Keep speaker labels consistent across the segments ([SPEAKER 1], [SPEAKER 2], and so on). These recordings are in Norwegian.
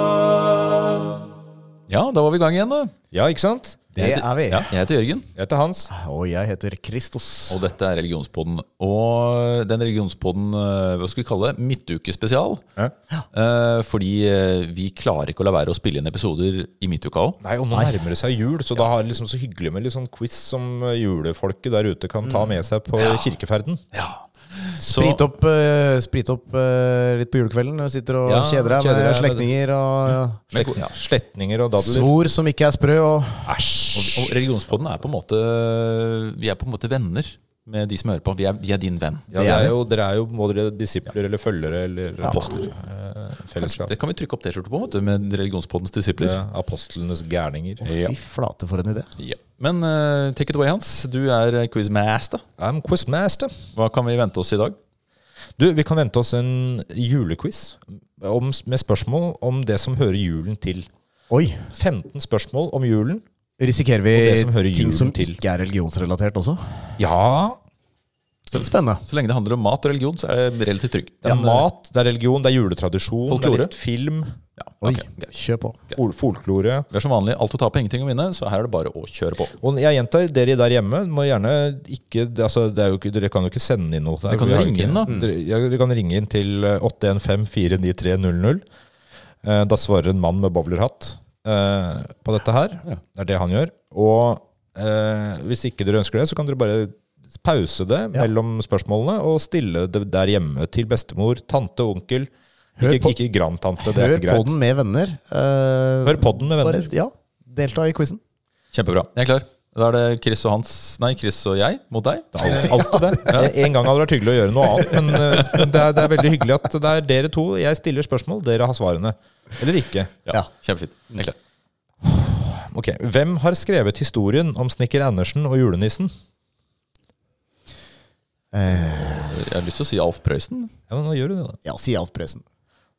[SPEAKER 1] Religionsrådet.
[SPEAKER 2] Ja, da var vi i gang igjen, da.
[SPEAKER 1] Ja, ikke sant?
[SPEAKER 3] Det er vi.
[SPEAKER 2] Ja, jeg heter Jørgen,
[SPEAKER 1] Jeg heter Hans.
[SPEAKER 3] Og jeg heter Kristos.
[SPEAKER 2] og dette er Religionspodden. Og den religionspodden, eh, hva skal vi kalle det, midtukespesial.
[SPEAKER 1] Ja.
[SPEAKER 2] Eh, fordi eh, vi klarer ikke å la være å spille inn episoder i midtuka òg.
[SPEAKER 1] Nei, og nå nærmer det seg jul, så da har det liksom så hyggelig med litt sånn quiz som eh, julefolket der ute kan ta med seg på kirkeferden.
[SPEAKER 2] Ja. Så,
[SPEAKER 3] Sprit opp, eh, sprit opp eh, litt på julekvelden når du sitter og
[SPEAKER 1] Ja,
[SPEAKER 3] kjeder deg
[SPEAKER 1] kjeder
[SPEAKER 3] med
[SPEAKER 1] deg med
[SPEAKER 3] slektninger og ja.
[SPEAKER 1] Slekt- Slektninger og dadler.
[SPEAKER 3] svor som ikke er sprø. Og,
[SPEAKER 2] Og, og religionspodden er på en måte Vi er på en måte venner med de som hører på. Vi er, vi er din venn.
[SPEAKER 1] Ja, det er jo, dere er jo både disipler eller følgere eller
[SPEAKER 2] Apostler.
[SPEAKER 1] eh, Fellesskap.
[SPEAKER 2] Det kan vi trykke opp T-skjorte på vet du, med religionspoddens disipler.
[SPEAKER 1] Ja, Apostlenes gærninger.
[SPEAKER 3] Fy flate, for en idé.
[SPEAKER 2] Ja. Men eh, take it away, Hans. Du er quizmaster.
[SPEAKER 1] I'm quizmaster.
[SPEAKER 2] Hva kan vi vente oss i dag?
[SPEAKER 1] Du, vi kan vente oss en julequiz om, med spørsmål om det som hører julen til.
[SPEAKER 3] Oi!
[SPEAKER 1] 15 spørsmål om julen.
[SPEAKER 3] Risikerer vi
[SPEAKER 1] det som hører
[SPEAKER 3] ting
[SPEAKER 1] julen
[SPEAKER 3] som
[SPEAKER 1] til.
[SPEAKER 3] ikke er religionsrelatert også?
[SPEAKER 1] Ja,
[SPEAKER 3] Spennende.
[SPEAKER 2] Så lenge det handler om mat og religion, så er jeg relativt trygg.
[SPEAKER 1] det er
[SPEAKER 2] Men, eh,
[SPEAKER 1] mat, det er religion, det er juletradisjon, det
[SPEAKER 2] Folklore.
[SPEAKER 1] er litt film,
[SPEAKER 2] Ja,
[SPEAKER 3] Oi,
[SPEAKER 2] ok, greit.
[SPEAKER 3] kjør på.
[SPEAKER 1] fol- folklore.
[SPEAKER 2] Vi er som vanlig alt å tape, ingenting å vinne, så her er det bare å kjøre på.
[SPEAKER 1] Og jeg gjentar, dere der hjemme må gjerne ikke, altså det er jo ikke Dere kan jo ikke sende inn noe. der.
[SPEAKER 2] Dere kan
[SPEAKER 1] Vi
[SPEAKER 2] jo
[SPEAKER 1] har
[SPEAKER 2] ringe
[SPEAKER 1] ikke- Mm.
[SPEAKER 2] inn, da.
[SPEAKER 1] Dere, ja, dere kan ringe inn til eh, 815-493-00. Eh, Da svarer en mann med bowlerhatt eh, på dette her. Det er det han gjør. Og eh, hvis ikke dere ønsker det, så kan dere bare pause det
[SPEAKER 3] Ja.
[SPEAKER 1] mellom spørsmålene og stille det der hjemme til bestemor, tante, onkel.
[SPEAKER 3] Hør
[SPEAKER 1] Ikke,
[SPEAKER 3] på-
[SPEAKER 1] ikke grandtante, det er
[SPEAKER 3] Hør
[SPEAKER 1] ikke
[SPEAKER 3] på
[SPEAKER 1] greit.
[SPEAKER 3] den med venner. eh,
[SPEAKER 1] Hør podden med venner.
[SPEAKER 3] bare- ja, delta i quizen.
[SPEAKER 2] Kjempebra. Jeg er klar. Da er det Chris og Hans Nei, Chris og jeg mot deg.
[SPEAKER 1] Alt, alt det der. En gang hadde det vært hyggelig å gjøre noe annet, men eh, det er, det er veldig hyggelig at det er dere to. Jeg stiller spørsmål, dere har svarene. Eller ikke.
[SPEAKER 3] Ja.
[SPEAKER 2] Kjempefint. Jeg er klar.
[SPEAKER 1] Ok, Hvem har skrevet historien om snekker Andersen og julenissen?
[SPEAKER 2] Jeg har lyst til å si Alf Prøysen,
[SPEAKER 1] Ja, men nå gjør du Det da.
[SPEAKER 3] Eh, Ja, si Alf Prøysen.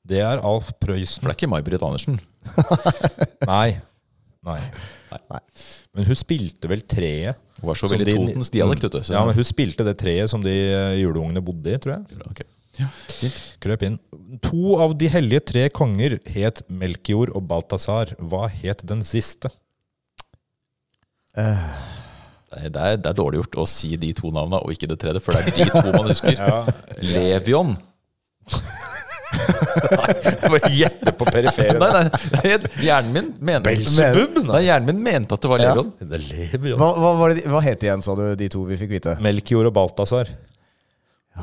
[SPEAKER 1] Det er Alf
[SPEAKER 2] for
[SPEAKER 1] Prøysen.
[SPEAKER 2] det er ikke May-Britt Andersen.
[SPEAKER 1] Nei. Nei.
[SPEAKER 3] Nei.
[SPEAKER 1] Men hun spilte vel treet.
[SPEAKER 2] Hun var så
[SPEAKER 1] som
[SPEAKER 2] veldig
[SPEAKER 1] de-
[SPEAKER 2] Totens dialekt, vet du. Så
[SPEAKER 1] Ja, men hun spilte det treet som de eh, juleungene bodde i, tror jeg.
[SPEAKER 2] Ok.
[SPEAKER 1] Krøp inn. To av de hellige tre konger het Melkior og Balthazar. Hva het den siste?
[SPEAKER 2] Det, er, det, er, det er dårlig gjort å si de to navnene og ikke det tredje, for det er de to man husker. Levion. Bare gjette på periferen. Nei, nei, det er hjernen min mener
[SPEAKER 3] Belzebub?
[SPEAKER 2] Nei, hjernen min mente at det var Levion.
[SPEAKER 1] Det lever jo.
[SPEAKER 3] Hva, hva, var det de- hva het de igjen, sa du, de to vi fikk vite?
[SPEAKER 1] Melchior og Balthazar.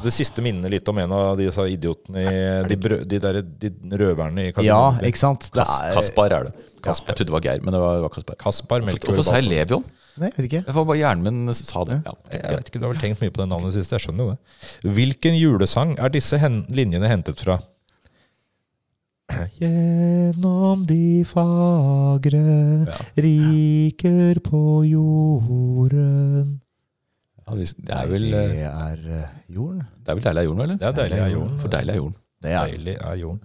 [SPEAKER 1] Det siste minner litt om en av disse idiotene i De, brø, de, der, de røverne i
[SPEAKER 3] Ja,
[SPEAKER 1] Kalifornien.
[SPEAKER 3] ikke sant? Det
[SPEAKER 2] Kas,
[SPEAKER 3] er-
[SPEAKER 2] Kaspar er det. Jeg trodde det var Geir, men det var, det var Kaspar.
[SPEAKER 1] Kaspar Melchior
[SPEAKER 2] Hvorfor
[SPEAKER 1] og
[SPEAKER 2] sa jeg
[SPEAKER 1] Balthazar.
[SPEAKER 2] Levion?
[SPEAKER 3] Nei, jeg vet ikke.
[SPEAKER 2] Det var bare hjernen min som sa det. Ja,
[SPEAKER 1] Jeg
[SPEAKER 2] jeg,
[SPEAKER 1] vet ikke, Du har vel tenkt mye på det navnet sist? Jeg skjønner jo det. Hvilken julesang er disse hen, linjene hentet fra? Gjennom de fagre riker på jorden
[SPEAKER 2] ja, det det er vel eh,
[SPEAKER 3] Det er eh, jorden.
[SPEAKER 2] Det er vel deilig av jorden, eller?
[SPEAKER 1] Det er deilig av jorden.
[SPEAKER 2] For deilig av jorden.
[SPEAKER 3] Det er
[SPEAKER 1] Deilig er jorden.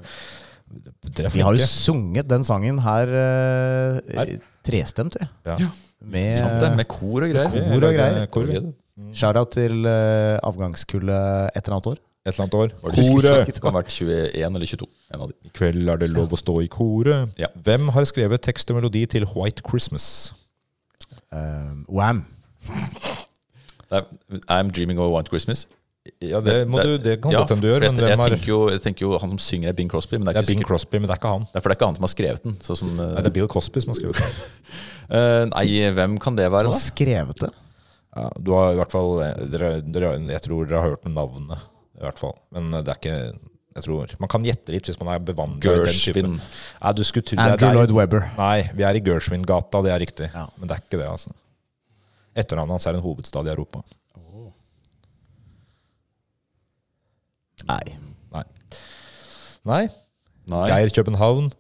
[SPEAKER 1] Dere er
[SPEAKER 3] Vi har jo
[SPEAKER 1] flinke.
[SPEAKER 3] sunget den sangen her eh,
[SPEAKER 1] Her?
[SPEAKER 3] trestemt, vi.
[SPEAKER 1] Ja.
[SPEAKER 3] Med
[SPEAKER 2] Sant det? Med kor og greier.
[SPEAKER 3] Med kor og greier.
[SPEAKER 1] Kor. Et
[SPEAKER 3] shout-out til eh, avgangskullet et eller annet år.
[SPEAKER 1] eller annet år.
[SPEAKER 2] Var det
[SPEAKER 3] Koret.
[SPEAKER 2] Det kan ha vært 21 eller 22. En av de.
[SPEAKER 1] I kveld er det lov å stå i koret.
[SPEAKER 2] Ja.
[SPEAKER 1] Hvem har skrevet tekst og melodi til White Christmas?
[SPEAKER 3] Eh, Wham!
[SPEAKER 2] Det er, I'm dreaming of a white Christmas.
[SPEAKER 1] Ja, det, må du, det kan
[SPEAKER 2] Ja,
[SPEAKER 1] godt hende du gjør,
[SPEAKER 2] for
[SPEAKER 1] men
[SPEAKER 2] jeg, jeg,
[SPEAKER 1] hvem har
[SPEAKER 2] tenker jo, jeg tenker jo han som synger, er Bing Crosby. Men det
[SPEAKER 1] Det
[SPEAKER 2] er
[SPEAKER 1] er
[SPEAKER 2] ikke
[SPEAKER 1] Bing
[SPEAKER 2] sikkert.
[SPEAKER 1] Crosby, men det er ikke han.
[SPEAKER 2] Det er for det er ikke han som har skrevet den. Sånn som,
[SPEAKER 1] Nei,
[SPEAKER 2] eh,
[SPEAKER 1] det er Bill Cosby som har skrevet det.
[SPEAKER 2] eh, nei, hvem kan det
[SPEAKER 3] Som
[SPEAKER 2] være,
[SPEAKER 3] har
[SPEAKER 2] da?
[SPEAKER 3] skrevet det.
[SPEAKER 1] Ja, du har i hvert fall eh, dere, dere, Jeg tror dere har hørt om navnet, i hvert fall. Men eh, det er ikke jeg tror. Man kan gjette litt hvis man er bevandret i den typen.
[SPEAKER 2] Gershwin.
[SPEAKER 1] Nei, du skulle tro det er
[SPEAKER 3] Andrew
[SPEAKER 1] der.
[SPEAKER 3] Lloyd Webber.
[SPEAKER 1] Nei, vi er i Gershwin-gata, det er riktig.
[SPEAKER 3] Ja.
[SPEAKER 1] Men det er ikke det, altså. Etternavnet hans er en hovedstad i Europa.
[SPEAKER 3] Nei.
[SPEAKER 1] Nei. Nei.
[SPEAKER 2] Nei.
[SPEAKER 1] Geir København.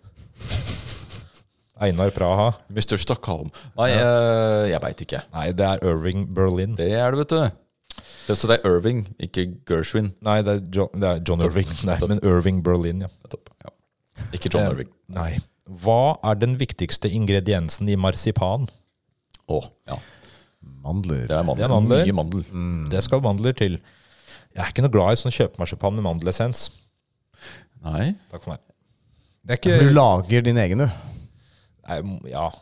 [SPEAKER 1] Einar Praha.
[SPEAKER 2] Mr. Stockholm. Nei, eh, jeg veit ikke.
[SPEAKER 1] Nei, det er Irving Berlin.
[SPEAKER 2] Det er det, vet du. Det, så det er Irving, ikke Gershwin.
[SPEAKER 1] Nei, det er John, det er John Irving. Nei, men Irving Berlin, ja.
[SPEAKER 2] Nettopp. Ja. Ikke John Irving.
[SPEAKER 1] Eh, Nei. Hva er den viktigste ingrediensen i marsipan?
[SPEAKER 2] Å, ja.
[SPEAKER 3] Mandler.
[SPEAKER 2] Det er mandel.
[SPEAKER 1] Det er mandel.
[SPEAKER 2] Mye mandel.
[SPEAKER 1] Det skal mandler til. Jeg er ikke noe glad i sånn kjøpemarsipan med mandelessens.
[SPEAKER 2] Nei.
[SPEAKER 1] Takk for meg. Det er
[SPEAKER 3] Du
[SPEAKER 1] ikke
[SPEAKER 3] lager din egen, du.
[SPEAKER 1] Nei, m- Ja.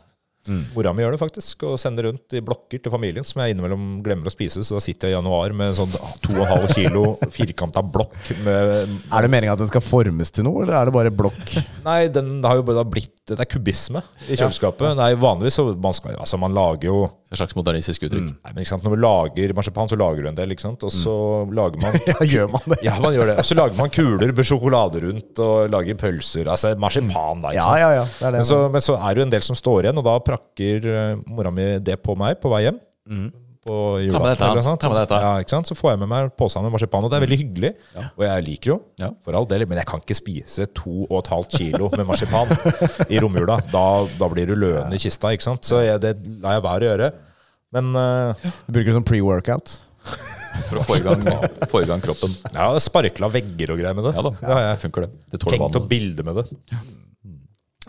[SPEAKER 2] Mm.
[SPEAKER 1] Mora mi gjør det faktisk, og sender rundt i blokker til familien som jeg innimellom glemmer å spise. Så da sitter jeg i januar med sånn 2,5 kilo firkanta blokk med
[SPEAKER 3] Er det meninga at den skal formes til noe, eller er det bare blokk?
[SPEAKER 1] Nei, den har jo bare blitt Det er kubisme i kjøleskapet. Nei, vanligvis så man skal, Altså, man lager jo
[SPEAKER 2] Et slags modernistisk uttrykk.
[SPEAKER 1] Nei, men ikke sant, Når du lager marsipan, så lager du en del, ikke sant? Og så
[SPEAKER 3] Mm.
[SPEAKER 1] lager man
[SPEAKER 3] Ja, gjør man det?
[SPEAKER 1] Ja, man gjør det. Og så lager man kuler med sjokolade rundt, og lager pølser. Altså marsipan, da. ikke
[SPEAKER 3] Ja,
[SPEAKER 1] sant?
[SPEAKER 3] ja, ja. Det er det.
[SPEAKER 1] Men så, men så er det jo en del som står igjen, og da prakker eh, mora mi det på meg på vei hjem. På
[SPEAKER 2] Mm. Ta med dette,
[SPEAKER 1] julaften eller noe
[SPEAKER 2] Hans.
[SPEAKER 1] sånt.
[SPEAKER 2] Ta med dette.
[SPEAKER 1] Ja, ikke sant? Så får jeg med meg posen med marsipan, og det er veldig hyggelig. Og jeg liker jo,
[SPEAKER 2] Ja.
[SPEAKER 1] for all del, men jeg kan ikke spise 2,5 kilo med marsipan i romjula. Da, da blir du løende i kista, ikke sant? Så jeg, det lar jeg være å gjøre. Men eh,
[SPEAKER 3] Du bruker det som pre-workout.
[SPEAKER 2] For å få i gang, få i gang kroppen.
[SPEAKER 1] jeg har sparkla vegger og greier med det.
[SPEAKER 2] Ja da,
[SPEAKER 1] det har jeg.
[SPEAKER 2] det funker, det. Det tåler
[SPEAKER 1] Tenkt å
[SPEAKER 2] vann.
[SPEAKER 1] bilde med det.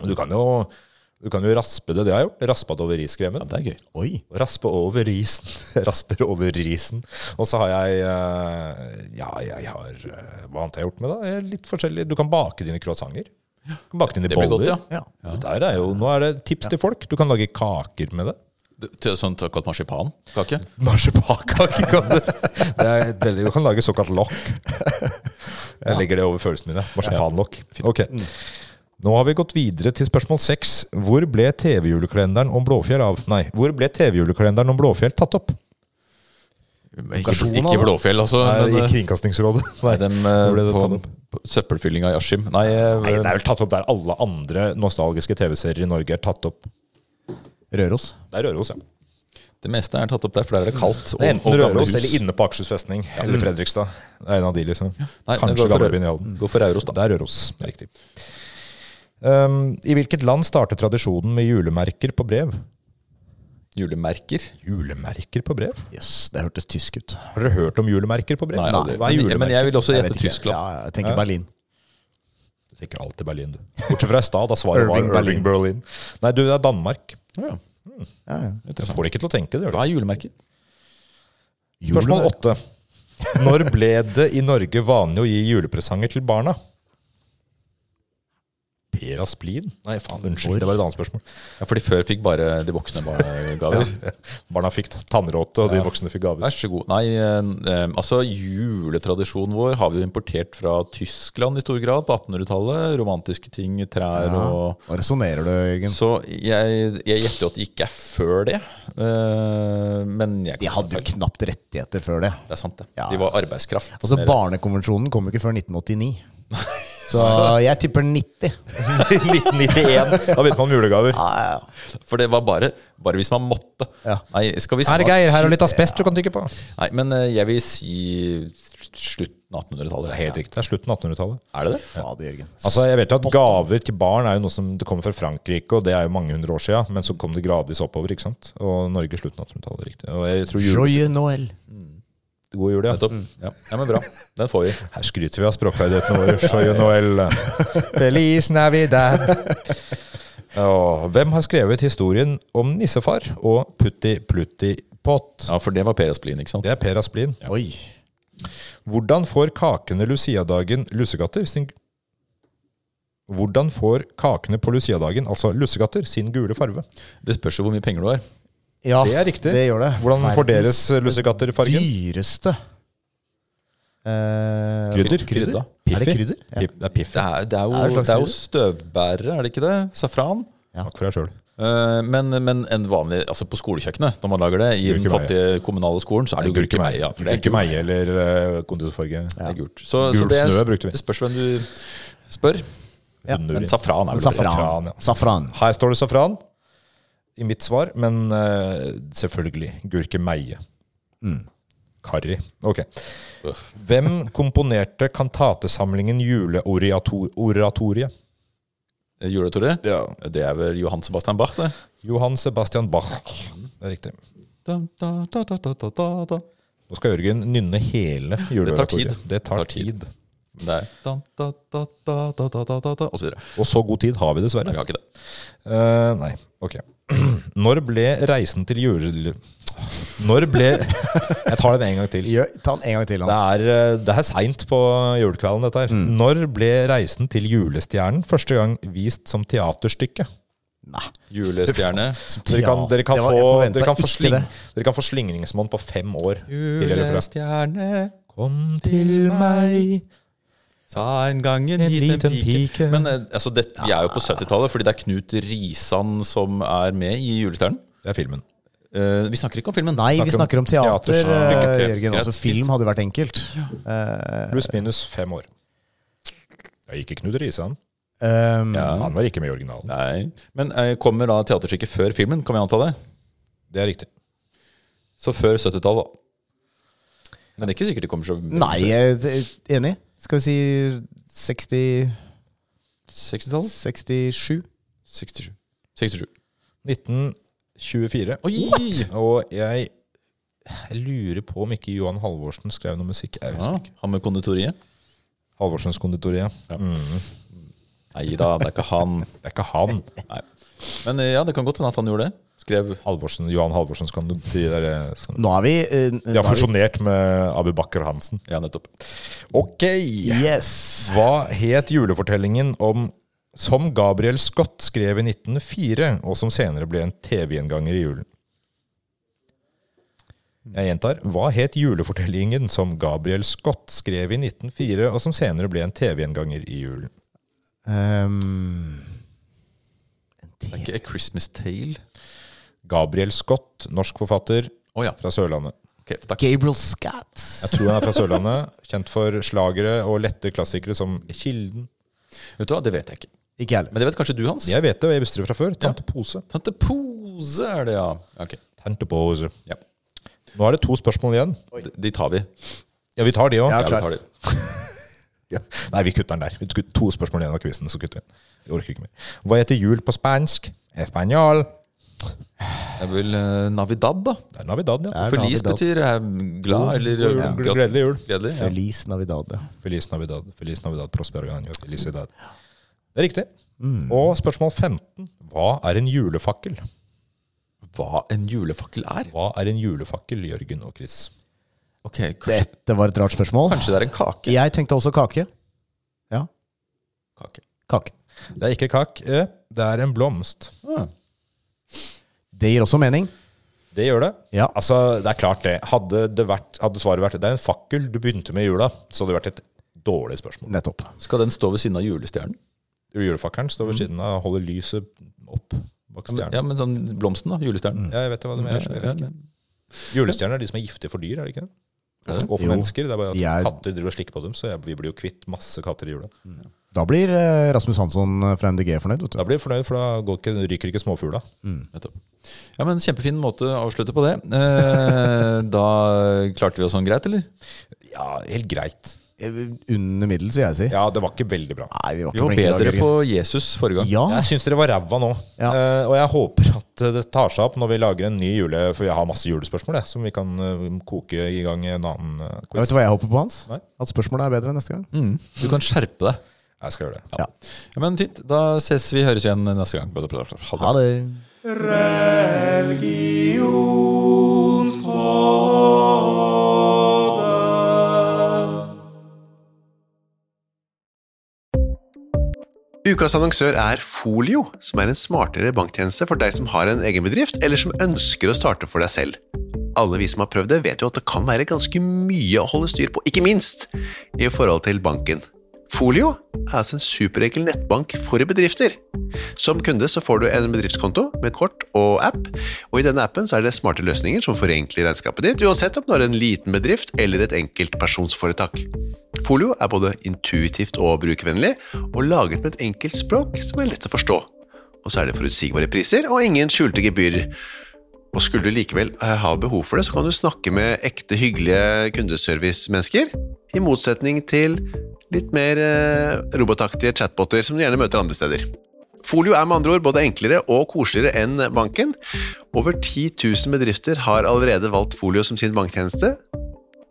[SPEAKER 1] Og Du kan jo, du kan jo raspe det. Det har jeg gjort. Raspa det over riskremen.
[SPEAKER 2] Ja, det er gøy.
[SPEAKER 3] Oi.
[SPEAKER 1] Raspe over risen. Rasper over risen. Og så har jeg eh, Ja, jeg har eh, Hva annet har jeg gjort med det? Jeg er Litt forskjellig. Du kan bake dine croissanter. Du kan bake dine
[SPEAKER 2] Det blir
[SPEAKER 1] boller.
[SPEAKER 2] godt, ja.
[SPEAKER 3] Ja.
[SPEAKER 1] Dette her er jo, nå er det tips til folk. Du kan lage kaker med det.
[SPEAKER 2] Det- til Sånn såkalt marsipankake.
[SPEAKER 1] Marsipankake kan du. Det er et veldig, du kan lage såkalt lokk. Jeg legger det over følelsene mine. Marsipanlokk. Ok. Nå har vi gått videre til spørsmål seks. Hvor ble TV-julekalenderen om Blåfjell av Nei, hvor ble TV-julekalenderen om Blåfjell tatt opp?
[SPEAKER 2] Ikke, ikke Blåfjell, altså.
[SPEAKER 1] Nei, I
[SPEAKER 2] Men,
[SPEAKER 1] Kringkastingsrådet.
[SPEAKER 2] nei,
[SPEAKER 1] Nei,
[SPEAKER 2] dem,
[SPEAKER 1] ble det tatt
[SPEAKER 2] på,
[SPEAKER 1] opp?
[SPEAKER 2] på søppelfyllinga i Askim. Nei, eh,
[SPEAKER 1] Nei, det er vel tatt opp der alle andre nostalgiske TV-serier i Norge er tatt opp.
[SPEAKER 3] Røros.
[SPEAKER 1] Det er Røros, ja.
[SPEAKER 2] det meste er tatt opp der, for der er det kaldt.
[SPEAKER 1] Det er enten Røros
[SPEAKER 2] Røros.
[SPEAKER 1] eller inne på Akershus festning. Eller Fredrikstad. Det er en av de, liksom.
[SPEAKER 2] Nei, men
[SPEAKER 1] Kanskje
[SPEAKER 2] gå for Rø-
[SPEAKER 1] Gamlebyen i Halden. Gå for Euros, da. Det er Euros, riktig. Um, I hvilket land starter tradisjonen med julemerker på brev?
[SPEAKER 2] Julemerker.
[SPEAKER 1] Julemerker på brev?
[SPEAKER 3] Jøs, det hørtes tysk ut.
[SPEAKER 1] Har dere hørt om julemerker på brev?
[SPEAKER 2] Nei, aldri.
[SPEAKER 1] Hva
[SPEAKER 2] Men-
[SPEAKER 1] er
[SPEAKER 2] Men
[SPEAKER 1] julemerker?
[SPEAKER 2] jeg vil også
[SPEAKER 3] Jeg
[SPEAKER 2] gjette
[SPEAKER 3] vet ikke.
[SPEAKER 2] Tyskland.
[SPEAKER 3] Ja, ja, jeg tenker Berlin.
[SPEAKER 1] Du tenker alltid Berlin, du. Bortsett fra i stad, da svaret var
[SPEAKER 3] Irving
[SPEAKER 1] Irving Berlin. Nei, du, det er Danmark.
[SPEAKER 2] Ja.
[SPEAKER 3] Ja, ja.
[SPEAKER 1] Jeg får deg ikke til å tenke det. gjør du?
[SPEAKER 2] Hva er julemerker?
[SPEAKER 1] Spørsmål åtte. Når ble det i Norge vanlig å gi julepresanger til barna? Per Asplin? Nei, faen, unnskyld. Det var et annet spørsmål.
[SPEAKER 2] Ja, fordi før fikk bare de voksne bare gaver.
[SPEAKER 1] Barna fikk tannråte, og de voksne fikk gaver.
[SPEAKER 2] Vær så god. Nei, eh, eh, altså juletradisjonen vår har vi jo importert fra Tyskland i stor grad på 1800-tallet. Romantiske ting, trær og
[SPEAKER 3] Hva resonnerer du, Jørgen?
[SPEAKER 2] Så jeg, jeg gjetter jo at det ikke er før det. eh, men jeg
[SPEAKER 3] De hadde jo knapt rettigheter før det.
[SPEAKER 2] Det er sant, det.
[SPEAKER 3] Ja.
[SPEAKER 2] De var arbeidskraft.
[SPEAKER 3] Altså,
[SPEAKER 2] Mer-
[SPEAKER 3] Barnekonvensjonen kom jo ikke før 1989. Så jeg tipper 90.
[SPEAKER 1] 1991. Da begynte man med julegaver.
[SPEAKER 3] Ja, ja, ja.
[SPEAKER 2] For det var bare, bare hvis man måtte.
[SPEAKER 3] Ja.
[SPEAKER 2] Nei, skal vi
[SPEAKER 1] Her er Geir, her er litt asbest du kan tygge på.
[SPEAKER 2] Nei, men eh, jeg vil si slutten av 1800-tallet. Det er helt
[SPEAKER 1] Det er slutten av 1800-tallet.
[SPEAKER 2] Er det det?
[SPEAKER 3] Fader, Jørgen.
[SPEAKER 1] Altså, jeg vet jo at Gaver til barn er jo noe som det kommer fra Frankrike, og det er jo mange hundre år siden, men så kom det gradvis oppover. ikke sant? Og Norge slutten av 1800-tallet. riktig. Og jeg tror jul,
[SPEAKER 3] Joye Noel.
[SPEAKER 1] God jul, ja.
[SPEAKER 2] Nettopp. Ja. ja, men bra. Den får vi.
[SPEAKER 1] Her skryter vi av språkferdighetene våre. Joyeux Noël. Feliz Navidad. Åh, hvem har skrevet historien om nissefar og Putti Plutti Pott?
[SPEAKER 2] Ja, for det var Per Asplin, ikke sant?
[SPEAKER 1] Det er Per Asplin.
[SPEAKER 3] Oi.
[SPEAKER 1] Hvordan får kakene Luciadagen lussekatter sin Hvordan får kakene på Luciadagen, altså lussekatter, sin gule farve?
[SPEAKER 2] Det spørs jo hvor mye penger du har.
[SPEAKER 3] Ja,
[SPEAKER 1] Det er riktig.
[SPEAKER 3] Ah, Det gjør det.
[SPEAKER 1] Hvordan får deres
[SPEAKER 3] Verdens
[SPEAKER 1] lussekatter fargen?
[SPEAKER 3] Dyreste. Eh,
[SPEAKER 1] Krydder.
[SPEAKER 2] Krydda.
[SPEAKER 3] Er det
[SPEAKER 1] Piffi.
[SPEAKER 3] krydder? Ja.
[SPEAKER 1] Pip- Det er piffi.
[SPEAKER 2] Det er, det er,
[SPEAKER 3] Er det
[SPEAKER 2] jo,
[SPEAKER 3] slags
[SPEAKER 2] det er jo
[SPEAKER 3] krydder?
[SPEAKER 2] støvbærere, er det ikke det? Safran.
[SPEAKER 1] Takk for deg sjøl.
[SPEAKER 2] Eh, Men, men en vanlig, altså på skolekjøkkenet, når man lager det i den
[SPEAKER 1] Gurkemeie.
[SPEAKER 2] fattige kommunale skolen, så er det jo gurkemeie. Ja, for det er gult.
[SPEAKER 1] Gurkemeie eller eh, konditorfarge.
[SPEAKER 2] Det er gult. Så,
[SPEAKER 1] Gul
[SPEAKER 2] så det,
[SPEAKER 1] snø brukte vi.
[SPEAKER 2] det spørs hvem du spør.
[SPEAKER 3] Ja,
[SPEAKER 1] Hunduri.
[SPEAKER 2] Men safran er vel det.
[SPEAKER 1] Safran,
[SPEAKER 3] Safran.
[SPEAKER 1] ja.
[SPEAKER 3] Safran.
[SPEAKER 1] Her står det safran i mitt svar, men eh, selvfølgelig gurkemeie.
[SPEAKER 2] Mm.
[SPEAKER 1] Karri. Ok.
[SPEAKER 2] Øh.
[SPEAKER 1] Hvem komponerte kantatesamlingen Juleoratoriet?
[SPEAKER 2] Juletore.
[SPEAKER 1] Ja.
[SPEAKER 2] Eh, Det er vel Johan Sebastian Bach, det.
[SPEAKER 1] Johan Sebastian Bach. Det er riktig.
[SPEAKER 2] Da, da, da, da, da, da, da, da.
[SPEAKER 1] Nå skal Jørgen nynne hele juleoratoriet.
[SPEAKER 2] tid.
[SPEAKER 1] Det tar,
[SPEAKER 2] Det tar tid.
[SPEAKER 1] tid.
[SPEAKER 2] Det er da, da, da, da, da, da, da, da, da, og så videre.
[SPEAKER 1] Og så god tid har vi
[SPEAKER 2] Nei,
[SPEAKER 1] dessverre.
[SPEAKER 2] vi har ikke det.
[SPEAKER 1] Eh, nei, ok. Når ble reisen til jule... Når ble Jeg tar den en gang til.
[SPEAKER 3] Gjør, ta den en gang til,
[SPEAKER 1] Det
[SPEAKER 3] Hans.
[SPEAKER 1] er, eh, det er seint på julekvelden, dette her.
[SPEAKER 2] Mm.
[SPEAKER 1] Når ble 'Reisen til julestjernen' første gang vist som teaterstykke?
[SPEAKER 3] Nei.
[SPEAKER 2] Julestjerne.
[SPEAKER 1] Dere kan, dere kan,
[SPEAKER 3] Det var- jeg
[SPEAKER 1] få,
[SPEAKER 3] forventet
[SPEAKER 1] dere kan, få,
[SPEAKER 3] ikke
[SPEAKER 1] sling,
[SPEAKER 3] det.
[SPEAKER 1] dere kan få slingringsmonn på fem år. til eller fra.
[SPEAKER 2] Julestjerne,
[SPEAKER 1] Kom til meg
[SPEAKER 2] sa en gang en,
[SPEAKER 1] En
[SPEAKER 2] liten
[SPEAKER 1] liten
[SPEAKER 2] pike.
[SPEAKER 1] pike.
[SPEAKER 2] Men eh, altså, det, vi er jo på 70-tallet, fordi det er Knut Risan som er med i Julestjernen.
[SPEAKER 1] Det er filmen.
[SPEAKER 2] Eh, vi snakker ikke om filmen.
[SPEAKER 3] Nei, vi snakker om teater,
[SPEAKER 2] teaterstykke.
[SPEAKER 3] eh, Jørgen.
[SPEAKER 2] Greit,
[SPEAKER 3] Altså,
[SPEAKER 2] fint.
[SPEAKER 3] film hadde jo vært enkelt. Eh,
[SPEAKER 1] Pluss minus fem år. Det gikk ikke Knut Risan.
[SPEAKER 3] ehm,
[SPEAKER 2] Ja.
[SPEAKER 1] Han var ikke med i originalen.
[SPEAKER 2] Nei. Men eh, kommer da teaterstykket før filmen, kan vi anta det?
[SPEAKER 1] Det er riktig.
[SPEAKER 2] Så før 70-tallet, da. Men det er ikke sikkert det kommer så
[SPEAKER 3] Nei, jeg er enig. Skal vi si 60,
[SPEAKER 2] 60-tallet?
[SPEAKER 3] 67?
[SPEAKER 2] 67. 67.
[SPEAKER 1] 1924.
[SPEAKER 2] Oi!
[SPEAKER 1] Og jeg jeg lurer på om ikke Johan Halvorsen skrev noe musikk. Jeg
[SPEAKER 2] Ja,
[SPEAKER 1] husker.
[SPEAKER 2] han med konditoriet?
[SPEAKER 1] Halvorsens konditori. Ja.
[SPEAKER 2] Ja.
[SPEAKER 1] Mm.
[SPEAKER 2] Nei da, det er ikke han.
[SPEAKER 1] Det er ikke han.
[SPEAKER 2] Nei. Men eh, ja, det kan godt hende at han gjorde det. Skrev
[SPEAKER 1] Halvorsen, Johan Halvorsens konditori. Det er det som-
[SPEAKER 3] Nå er vi eh,
[SPEAKER 1] De
[SPEAKER 3] nå
[SPEAKER 1] har
[SPEAKER 3] er vi-
[SPEAKER 1] fusjonert med Abu Bakr Hansen.
[SPEAKER 2] Ja, nettopp.
[SPEAKER 1] Ok!
[SPEAKER 3] Yes!
[SPEAKER 1] Hva het julefortellingen om som Gabriel Scott skrev i 1904, og som senere ble en TV-gjenganger i julen? Jeg gjentar. Hva het julefortellingen som Gabriel Scott skrev i 1904, og som senere ble en TV-gjenganger i julen?
[SPEAKER 3] Ehm, en
[SPEAKER 2] Det er
[SPEAKER 3] til.
[SPEAKER 2] ikke A Christmas Tale.
[SPEAKER 1] Gabriel Scott, norsk forfatter
[SPEAKER 2] Å ja.
[SPEAKER 1] fra Sørlandet.
[SPEAKER 2] Ok, takk.
[SPEAKER 3] Gabriel Scott.
[SPEAKER 1] Jeg tror han er fra Sørlandet. Kjent for slagere og lette klassikere som Kilden.
[SPEAKER 2] Vet du hva, det vet jeg ikke.
[SPEAKER 3] Ikke heller.
[SPEAKER 2] Men det vet kanskje du, Hans?
[SPEAKER 1] Jeg vet det, og jeg visste det fra før. Tante Pose.
[SPEAKER 2] Tante Pose er det, ja. Ok,
[SPEAKER 1] Tante Pose.
[SPEAKER 2] ja.
[SPEAKER 1] Nå er det to spørsmål igjen.
[SPEAKER 2] De, de tar vi.
[SPEAKER 1] Ja, vi tar de òg.
[SPEAKER 3] Ja,
[SPEAKER 2] Ja, vi
[SPEAKER 3] klar.
[SPEAKER 2] tar de.
[SPEAKER 1] Nei, vi kutter den der. Vi kutter to spørsmål igjen av quizen, så kutter vi den. Vi orker ikke mer. Hva heter jul på spansk? Español.
[SPEAKER 2] Det er vel eh, Navidad, da.
[SPEAKER 1] Det er Navidad, ja.
[SPEAKER 3] er
[SPEAKER 2] Feliz
[SPEAKER 3] Navidad.
[SPEAKER 2] betyr eh, glad eller
[SPEAKER 1] God jul,
[SPEAKER 2] ja.
[SPEAKER 1] gl- gledelig jul.
[SPEAKER 2] Gledelig, ja.
[SPEAKER 3] Feliz Navidad. ja.
[SPEAKER 1] Feliz Navidad. Feliz Navidad Prospero Ganio Felicidad. Det er riktig. Og spørsmål 15. Hva er en julefakkel?
[SPEAKER 2] Hva en julefakkel er?
[SPEAKER 1] Hva er en julefakkel, Jørgen og Chris?
[SPEAKER 2] Ok, kanskje,
[SPEAKER 3] Dette var et rart spørsmål.
[SPEAKER 2] kanskje det er en kake?
[SPEAKER 3] Jeg tenkte også kake. Ja,
[SPEAKER 2] kake.
[SPEAKER 3] kake.
[SPEAKER 1] Det er ikke kake. Det er en blomst.
[SPEAKER 2] Ah.
[SPEAKER 3] Det gir også mening.
[SPEAKER 1] Det gjør det.
[SPEAKER 3] Ja.
[SPEAKER 1] Altså, det er klart det. Hadde, det vært, hadde svaret vært det er en fakkel du begynte med i jula, så hadde det vært et dårlig spørsmål.
[SPEAKER 3] Nettopp.
[SPEAKER 2] Skal den stå ved siden av julestjernen?
[SPEAKER 1] Julefakkelen står
[SPEAKER 3] Mm.
[SPEAKER 1] ved siden av og holder lyset opp bak
[SPEAKER 2] Ja, men-
[SPEAKER 1] stjernen.
[SPEAKER 2] Ja, men sånn blomsten, da. Julestjernen.
[SPEAKER 1] Ja, jeg vet hva du mener. Jeg vet ikke. Julestjerner er de som er giftige for dyr, er det ikke? det? Og for
[SPEAKER 3] Jo.
[SPEAKER 1] mennesker. Det er bare at
[SPEAKER 3] De er-
[SPEAKER 1] katter driver og slikker på dem, så jeg, vi blir jo kvitt masse katter i jula.
[SPEAKER 3] Da blir eh, Rasmus Hansson fra MDG fornøyd. vet du.
[SPEAKER 1] Da blir jeg fornøyd, for da går ikke, ryker ikke småfugla.
[SPEAKER 2] Nettopp. Ja, men Kjempefin måte å avslutte på det. Eh, da klarte vi oss sånn greit, eller?
[SPEAKER 1] Ja, helt greit.
[SPEAKER 3] Eh, Under middels, vil jeg si.
[SPEAKER 1] Ja, det var ikke veldig bra.
[SPEAKER 3] Nei, vi var
[SPEAKER 2] Vi
[SPEAKER 3] ikke
[SPEAKER 2] var
[SPEAKER 3] flinke i dag.
[SPEAKER 2] bedre på
[SPEAKER 3] Jørgen.
[SPEAKER 2] Jesus forrige gang.
[SPEAKER 3] Ja,
[SPEAKER 1] Jeg syns dere var ræva nå,
[SPEAKER 3] Ja.
[SPEAKER 1] Eh, og jeg håper at det tar seg opp når vi lager en ny jule... For jeg har masse julespørsmål jeg, som vi kan eh, koke i gang i en annen eh,
[SPEAKER 3] Ja, Vet
[SPEAKER 1] quiz.
[SPEAKER 3] du hva jeg håper på, Hans?
[SPEAKER 1] Nei.
[SPEAKER 3] At spørsmålet er bedre neste gang.
[SPEAKER 2] Mm, du kan skjerpe deg.
[SPEAKER 1] Jeg skal gjøre det.
[SPEAKER 3] Ja.
[SPEAKER 2] Ja, men fint. Da ses vi høres igjen neste gang. Ha det.
[SPEAKER 3] Ha det.
[SPEAKER 4] Ukas annonsør er Folio, som er en smartere banktjeneste for deg som har en egen bedrift, eller som ønsker å starte for deg selv. Alle vi som har prøvd det, vet jo at det kan være ganske mye å holde styr på, ikke minst i forhold til banken. Folio er altså en superenkel nettbank for bedrifter. Som kunde så får du en bedriftskonto med kort og app, og i denne appen så er det smarte løsninger som forenkler regnskapet ditt, uansett om du har en liten bedrift eller et enkeltpersonsforetak. Folio er både intuitivt og brukervennlig, og laget med et enkelt språk som er lett å forstå. Og så er det forutsigbare priser og ingen skjulte gebyrer. Og skulle du likevel eh, ha behov for det, så kan du snakke med ekte hyggelige kundeservice-mennesker, i motsetning til litt mer eh, robotaktige chatboter som du gjerne møter andre steder. Folio er med andre ord både enklere og koseligere enn banken. Over 10 000 bedrifter har allerede valgt Folio som sin banktjeneste,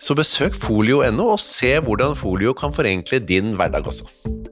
[SPEAKER 4] så besøk folio.no og se hvordan folio kan forenkle din hverdag også.